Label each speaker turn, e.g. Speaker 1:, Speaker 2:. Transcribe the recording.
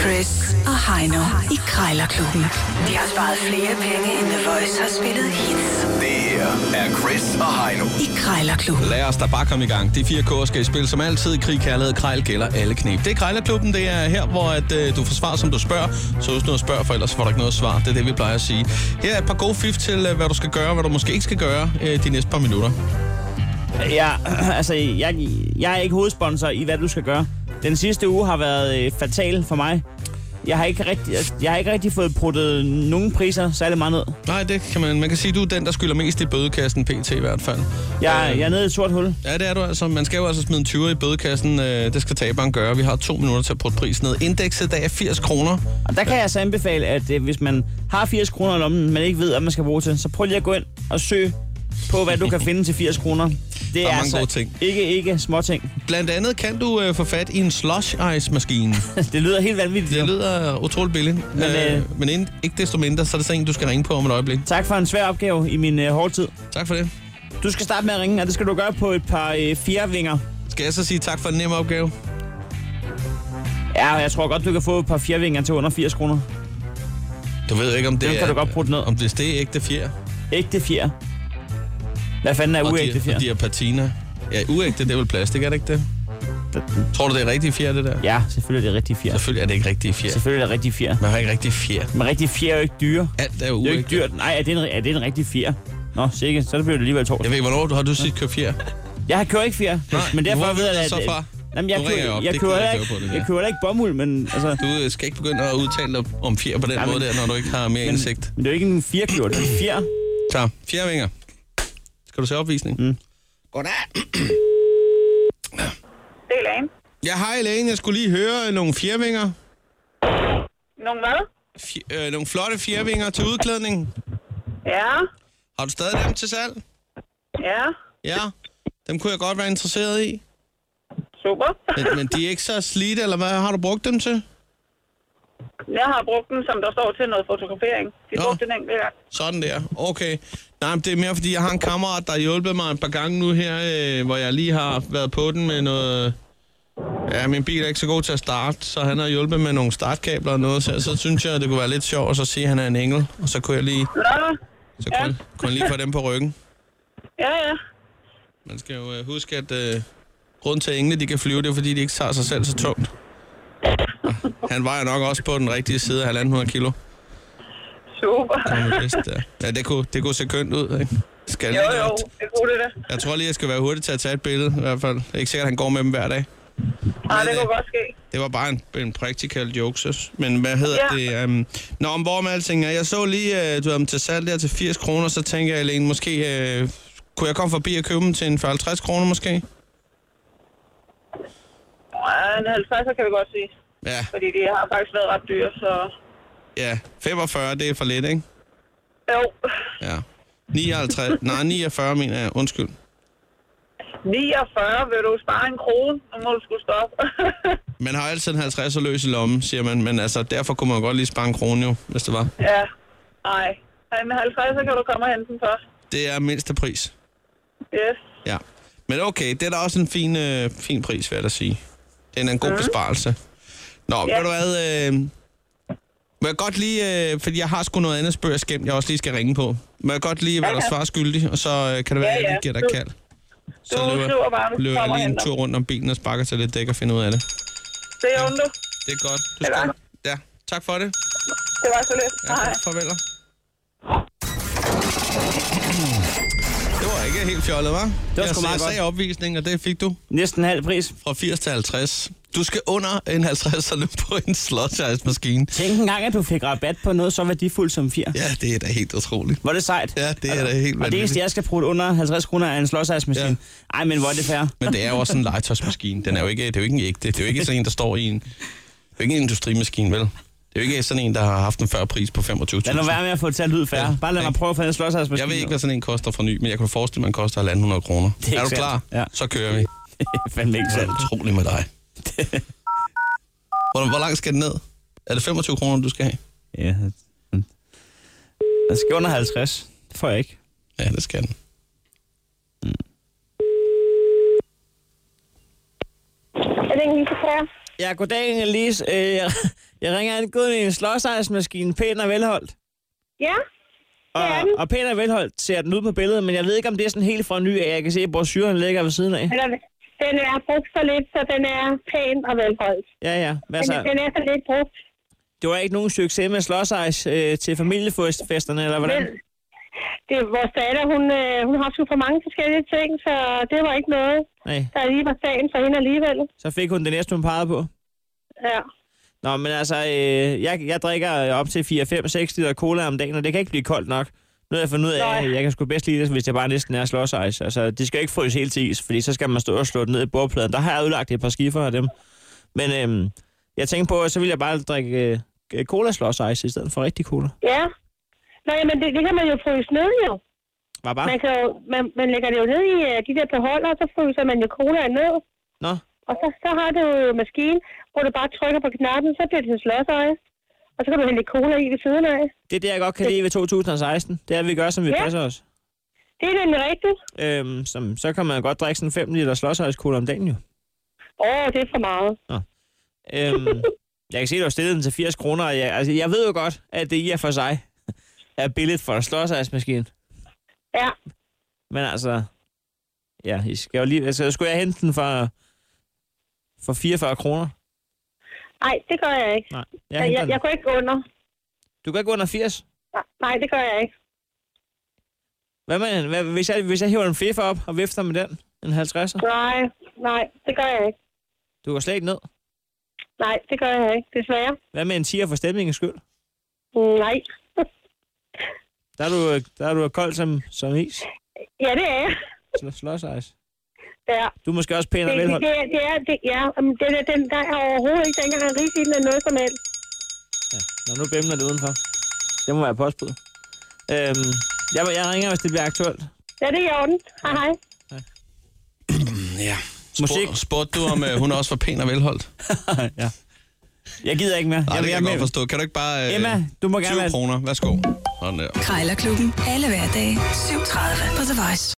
Speaker 1: Chris og Heino i Krejlerklubben. De har sparet flere penge, end The Voice har spillet hits
Speaker 2: Det her er Chris og Heino.
Speaker 1: i Krejlerklubben.
Speaker 3: Lad os da bare komme i gang. De fire kår skal i spil som altid. Krig, kærlighed, krejl gælder alle knep. Det er Krejlerklubben, det er her, hvor at, øh, du får svar, som du spørger. Så husk nu at spørge, for ellers får du ikke noget svar. Det er det, vi plejer at sige. Her er et par gode fif til, øh, hvad du skal gøre, hvad du måske ikke skal gøre øh, de næste par minutter.
Speaker 4: Ja, altså, jeg, jeg er ikke hovedsponsor i, hvad du skal gøre. Den sidste uge har været øh, fatal for mig. Jeg har, ikke rigtig, altså, jeg har ikke rigtig fået pruttet nogen priser særlig meget ned.
Speaker 3: Nej, det kan man. Man kan sige, du er den, der skylder mest i bødekassen, pt. i hvert fald. Øh,
Speaker 4: Jeg, jeg er nede i et sort hul.
Speaker 3: Ja, det er du altså. Man skal jo altså smide en 20 i bødekassen. Øh, det skal taberen gøre. Vi har to minutter til at putte prisen ned. Indekset i dag er 80 kroner.
Speaker 4: Og der kan jeg så anbefale, at øh, hvis man har 80 kroner i lommen, man ikke ved, hvad man skal bruge til, så prøv lige at gå ind og søg på, hvad du kan finde til 80 kroner. Det er
Speaker 3: mange
Speaker 4: altså
Speaker 3: gode ting.
Speaker 4: ikke, ikke småting.
Speaker 3: Blandt andet kan du øh, få fat i en slush ice-maskine.
Speaker 4: det lyder helt vanvittigt.
Speaker 3: Det
Speaker 4: jo.
Speaker 3: lyder utroligt billigt, men, øh,
Speaker 4: øh,
Speaker 3: men ind, ikke desto mindre, så er det sådan en, du skal ringe på om et øjeblik.
Speaker 4: Tak for en svær opgave i min øh, hårde tid.
Speaker 3: Tak for det.
Speaker 4: Du skal starte med at ringe, og det skal du gøre på et par øh, fjervinger.
Speaker 3: Skal jeg så sige tak for en nem opgave?
Speaker 4: Ja, og jeg tror godt, du kan få et par fjervinger til under 80 kroner.
Speaker 3: Du ved ikke, om det
Speaker 4: Dem
Speaker 3: er...
Speaker 4: kan du godt putte ned.
Speaker 3: Om det, det er ægte fjer.
Speaker 4: Ægte fjer. Hvad fanden er
Speaker 3: og
Speaker 4: uægte
Speaker 3: de,
Speaker 4: fjer?
Speaker 3: og de er patina. Ja, uægte, det er vel plastik, er det ikke det? Tror du, det er rigtige fjer, det der?
Speaker 4: Ja, selvfølgelig er det rigtig fjer.
Speaker 3: Selvfølgelig er det ikke rigtige fjer.
Speaker 4: Selvfølgelig er det rigtig fjer.
Speaker 3: Man har ikke rigtige fjer.
Speaker 4: Men rigtig fjer er jo ikke dyre.
Speaker 3: Alt er jo
Speaker 4: Det er jo
Speaker 3: uægte.
Speaker 4: ikke dyrt. Nej, er det en, er det en rigtig fjer? Nå, sikkert. Så bliver det alligevel tårt.
Speaker 3: Jeg ved ikke, hvornår du har du sidst kørt fjer.
Speaker 4: Jeg har kørt ikke fjer,
Speaker 3: Nej,
Speaker 4: men derfor
Speaker 3: hvor
Speaker 4: ved
Speaker 3: ved
Speaker 4: jeg,
Speaker 3: du så
Speaker 4: at...
Speaker 3: fra?
Speaker 4: Jamen, jeg,
Speaker 3: Nu ringer jeg
Speaker 4: kører,
Speaker 3: op.
Speaker 4: jeg,
Speaker 3: Det
Speaker 4: kører
Speaker 3: gider jeg
Speaker 4: ikke,
Speaker 3: ikke høre på, det
Speaker 4: jeg
Speaker 3: der.
Speaker 4: kører da ikke bomuld, men altså...
Speaker 3: Du øh, skal ikke begynde at udtale dig om fjer på den
Speaker 4: Nej, men-
Speaker 3: måde der, når du ikke har mere
Speaker 4: men,
Speaker 3: indsigt.
Speaker 4: men det er jo ikke en fjerkløver, det er en fjer.
Speaker 3: Klar. Fjerde vinger. Skal du se opvisning? Mm. Goddag.
Speaker 5: Det er Elaine.
Speaker 3: Ja, hej Elaine. Jeg skulle lige høre øh, nogle fjervinger.
Speaker 5: Nogle hvad?
Speaker 3: Fj- øh, nogle flotte fjervinger til udklædning.
Speaker 5: Ja,
Speaker 3: Har du stadig dem til salg?
Speaker 5: ja,
Speaker 3: Ja. Dem kunne jeg godt være interesseret i.
Speaker 5: super.
Speaker 3: Men, men de er ikke så slidte, eller hvad har du brugt dem til?
Speaker 5: Jeg har brugt den, som der står til noget fotografering. De
Speaker 3: Nå.
Speaker 5: brugte den enkelt gang.
Speaker 3: Sådan der. Okay. Nej, men det er mere, fordi jeg har en kammerat, der har hjulpet mig et par gange nu her, øh, hvor jeg lige har været på den med noget... Ja, min bil er ikke så god til at starte, så han har hjulpet med nogle startkabler og noget, så, så synes jeg, det kunne være lidt sjovt, og så sige, at han er en engel, og så kunne jeg lige,
Speaker 5: Nå,
Speaker 3: så kunne, jeg- kunne jeg lige få dem på ryggen.
Speaker 5: ja, ja.
Speaker 3: Man skal jo øh, huske, at øh, grunden til, at engle de kan flyve, det er, fordi de ikke tager sig selv så tungt. Han vejer nok også på den rigtige side af 1.500 kilo.
Speaker 5: Super.
Speaker 3: Han er bedst der. Ja, det kunne, det kunne se kønt ud, ikke? Skal
Speaker 5: Jo,
Speaker 3: lige
Speaker 5: jo,
Speaker 3: op.
Speaker 5: det kunne det da.
Speaker 3: Jeg tror lige, jeg skal være hurtig til at tage et billede, i hvert fald. Det er ikke sikkert, at han går med dem hver dag.
Speaker 5: Nej, det
Speaker 3: øh,
Speaker 5: kunne godt ske.
Speaker 3: Det var bare en, en practical joke, så. Men hvad hedder
Speaker 5: Ja.
Speaker 3: det? Um... Nå, om hvor med alting er. Jeg så lige, øh, du havde dem til salg der til 80 kroner, så tænker jeg, Alene, måske... Øh, kunne jeg komme forbi og købe dem til en 40-50 kroner, måske?
Speaker 5: Ja, en 50 kan vi godt sige.
Speaker 3: Ja,
Speaker 5: Fordi de har faktisk været ret dyre, så...
Speaker 3: ja. 45, det er for lidt, ikke?
Speaker 5: Jo,
Speaker 3: Ja. 59, nej, 49 mener jeg. Undskyld.
Speaker 5: 49 vil du spare en krone, nu må du skulle stoppe.
Speaker 3: Man har altid en 50 løs i lommen, siger man, men altså, derfor kunne man godt lige spare en krone jo, hvis det var.
Speaker 5: ja, nej. En 50 kan du komme og hente den først.
Speaker 3: Det er mindste pris.
Speaker 5: Yes.
Speaker 3: Ja. Men okay, det er da også en fin, øh, fin pris, vil jeg da sige. Det er en- en god besparelse. Nå, ja.
Speaker 5: Ja.
Speaker 3: ved du hvad, øh, må jeg godt lige, øh, fordi jeg har sgu noget andet spørg og skæmt, jeg også lige skal ringe på. Må jeg godt lige være dig svar skyldig, og så øh, kan det være,
Speaker 5: Ja,
Speaker 3: at jeg
Speaker 5: ja.
Speaker 3: lige giver dig
Speaker 5: Du-
Speaker 3: kald. Så
Speaker 5: Du skriver bare, hvis du
Speaker 3: løber jeg
Speaker 5: kommer og
Speaker 3: lige en
Speaker 5: henter.
Speaker 3: tur rundt om bilen og sparker til lidt dæk og finder ud af det.
Speaker 5: Det er ondt.
Speaker 3: Det er godt. Du
Speaker 5: Det er
Speaker 3: skal...
Speaker 5: godt.
Speaker 3: Ja, tak for det.
Speaker 5: Det var så lidt.
Speaker 3: Ja,
Speaker 5: Nej.
Speaker 3: farvel. Det var ikke helt fjollet, hva'? Det
Speaker 4: var
Speaker 3: jeg
Speaker 4: sgu meget
Speaker 3: sagde
Speaker 4: godt.
Speaker 3: opvisning, og det fik du
Speaker 4: Næsten halv pris.
Speaker 3: fra 80 til 50. Du skal under en 50'er nu på en slotjejsmaskine.
Speaker 4: Tænk engang, at du fik rabat på noget så værdifuldt som fjer.
Speaker 3: Ja, det er da helt utroligt.
Speaker 4: Hvor er det sejt.
Speaker 3: Ja, det er da helt
Speaker 4: Og det eneste,
Speaker 3: vanvittigt.
Speaker 4: jeg skal bruge under 50 kroner, er en slåsejsmaskine.
Speaker 3: Ja.
Speaker 4: Ja. Ej, men hvor er det fair.
Speaker 3: Men det er jo også en legetøjsmaskine. Den er jo ikke, det er jo ikke en ægte. Det er jo ikke sådan en, der står i en... Det er jo ikke en industrimaskine, vel? Det er jo ikke sådan en, der har haft en 40 pris på 25.000.
Speaker 4: Lad nu være med at få et tal ud færre.
Speaker 3: Ja,
Speaker 4: Bare lad mig
Speaker 3: ikke?
Speaker 4: prøve at få en slåsejsmaskine.
Speaker 3: Jeg ved ikke, hvad sådan en koster fra ny, men jeg kan forestille mig, at den koster 1.500 kroner.
Speaker 4: Det er
Speaker 3: Er, er du
Speaker 4: ikke
Speaker 3: klar?
Speaker 4: sandt. Ja.
Speaker 3: Så kører vi.
Speaker 4: hvad... Fandme ikke
Speaker 3: Det
Speaker 4: selv.
Speaker 3: er utroligt med dig. Hvor, hvor langt skal den ned? Er det 25 kroner, du skal have?
Speaker 4: Ja. Jeg skal under 50. Det får jeg ikke.
Speaker 3: Ja, det skal den.
Speaker 5: Er det en lille
Speaker 4: Ja, goddag, Elise. Øh, jeg Jeg ringer an guden i en slåsejsmaskine, pæn og velholdt.
Speaker 5: Ja,
Speaker 4: Og,
Speaker 5: Det er den.
Speaker 4: og pæn og velholdt ser den ud på billedet, men jeg ved ikke, om det er sådan helt fra ny af. Jeg kan se, hvor syren ligger ved siden af.
Speaker 5: eller den er brugt så lidt, så den er pæn og velholdt.
Speaker 4: Ja, ja. Hvad
Speaker 5: Den,
Speaker 4: så?
Speaker 5: den er så lidt brugt.
Speaker 4: Det var ikke nogen succes med slåsejs øh, til familiefesterne, eller hvordan?
Speaker 5: Men det, vores datter, hun, øh, hun har sgu for mange forskellige ting, så det var ikke noget,
Speaker 4: Nej,
Speaker 5: der lige var sagen for hende alligevel.
Speaker 4: så fik hun det næste, hun pegede på.
Speaker 5: Ja.
Speaker 4: Nå, men altså, øh, jeg, jeg drikker op til 4, 5, 6 liter cola om dagen, og det kan ikke blive koldt nok. Nu har jeg fundet ud af,
Speaker 5: Nej.
Speaker 4: at jeg kan sgu bedst lide det, hvis jeg bare næsten er slåsejs. Altså, de skal jo ikke fryse helt til is, fordi så skal man stå og slå det ned i bordpladen. Der har jeg ødelagt et par skifer af dem. Men øhm, jeg tænkte på, at så ville jeg bare drikke øh, cola slåsejs i stedet for rigtig cola.
Speaker 5: Ja. Nå, jamen, det, det kan man jo fryse ned, jo.
Speaker 4: Var bare?
Speaker 5: Man, kan jo man, man lægger det jo ned i øh, de der beholder, og så fryser man jo colaen ned.
Speaker 4: Nå,
Speaker 5: Og så, så har du jo en maskine, hvor du bare trykker på knappen, så bliver det til slåsøje. Og så kan du hælde lidt cola i ved siden af.
Speaker 4: det er det, jeg godt kan lide ved 2016. Det er, at vi gør, som vi
Speaker 5: Ja.
Speaker 4: passer os.
Speaker 5: Det er nemlig rigtigt.
Speaker 4: Øhm, som, så kan man godt drikke sådan 5 liter slåsøjskola om dagen jo.
Speaker 5: Åh, det er for meget.
Speaker 4: Øhm, jeg kan se, at du har stillet den til 80 kroner. og Jeg, altså, jeg ved jo godt, at det i og for sig er billigt for en slåsejsmaskine.
Speaker 5: Ja.
Speaker 4: Men altså... Ja, I skal jo lige... Altså, skulle jeg hente den for, for 44 kroner?
Speaker 5: Nej, det gør jeg ikke.
Speaker 4: Nej, jeg,
Speaker 5: Jeg, jeg,
Speaker 4: henter
Speaker 5: jeg,
Speaker 4: den.
Speaker 5: jeg går ikke under.
Speaker 4: Du kan ikke gå under 80.
Speaker 5: Nej, Nej, det gør jeg ikke.
Speaker 4: Hvad man, hvad, hvis, jeg, hvis jeg hiver en fiffer op og vifter med den, en 50'er,
Speaker 5: Nej, nej, det gør jeg ikke.
Speaker 4: du går slet ikke ned.
Speaker 5: Nej, det gør jeg ikke, desværre.
Speaker 4: Hvad med en 10'er for stemningens skyld?
Speaker 5: Mm, Nej.
Speaker 4: Der er du, øh, der er du kold som, som is.
Speaker 5: Ja, det er jeg.
Speaker 4: Sl- Slåsejs.
Speaker 5: Ja.
Speaker 4: Du er måske også pæn
Speaker 5: Det,
Speaker 4: og
Speaker 5: det,
Speaker 4: velholdt.
Speaker 5: det, er- det er, det, ja, um, den, er, den der er overhovedet ikke dengang rigtig eller noget som helst.
Speaker 4: Ja. Nå, nu bimler det udenfor. Det må være postbud. Øhm, jeg, jeg ringer, hvis det bliver aktuelt.
Speaker 5: Ja, det er i orden. Hej, hej.
Speaker 3: Ja.
Speaker 4: Musik.
Speaker 3: Spur, spurgte du, om øh, hun også var pæn og velholdt?
Speaker 4: ja. Jeg gider ikke mere.
Speaker 3: Nej, det kan jeg
Speaker 4: jeg
Speaker 3: godt forstå. Kan du ikke bare... Øh,
Speaker 4: Emma, du må gerne
Speaker 3: 20
Speaker 4: være-
Speaker 3: kroner. Værsgo. Sådan der.
Speaker 1: Krejlerklubben. Alle hverdage. 7.30 på The Voice.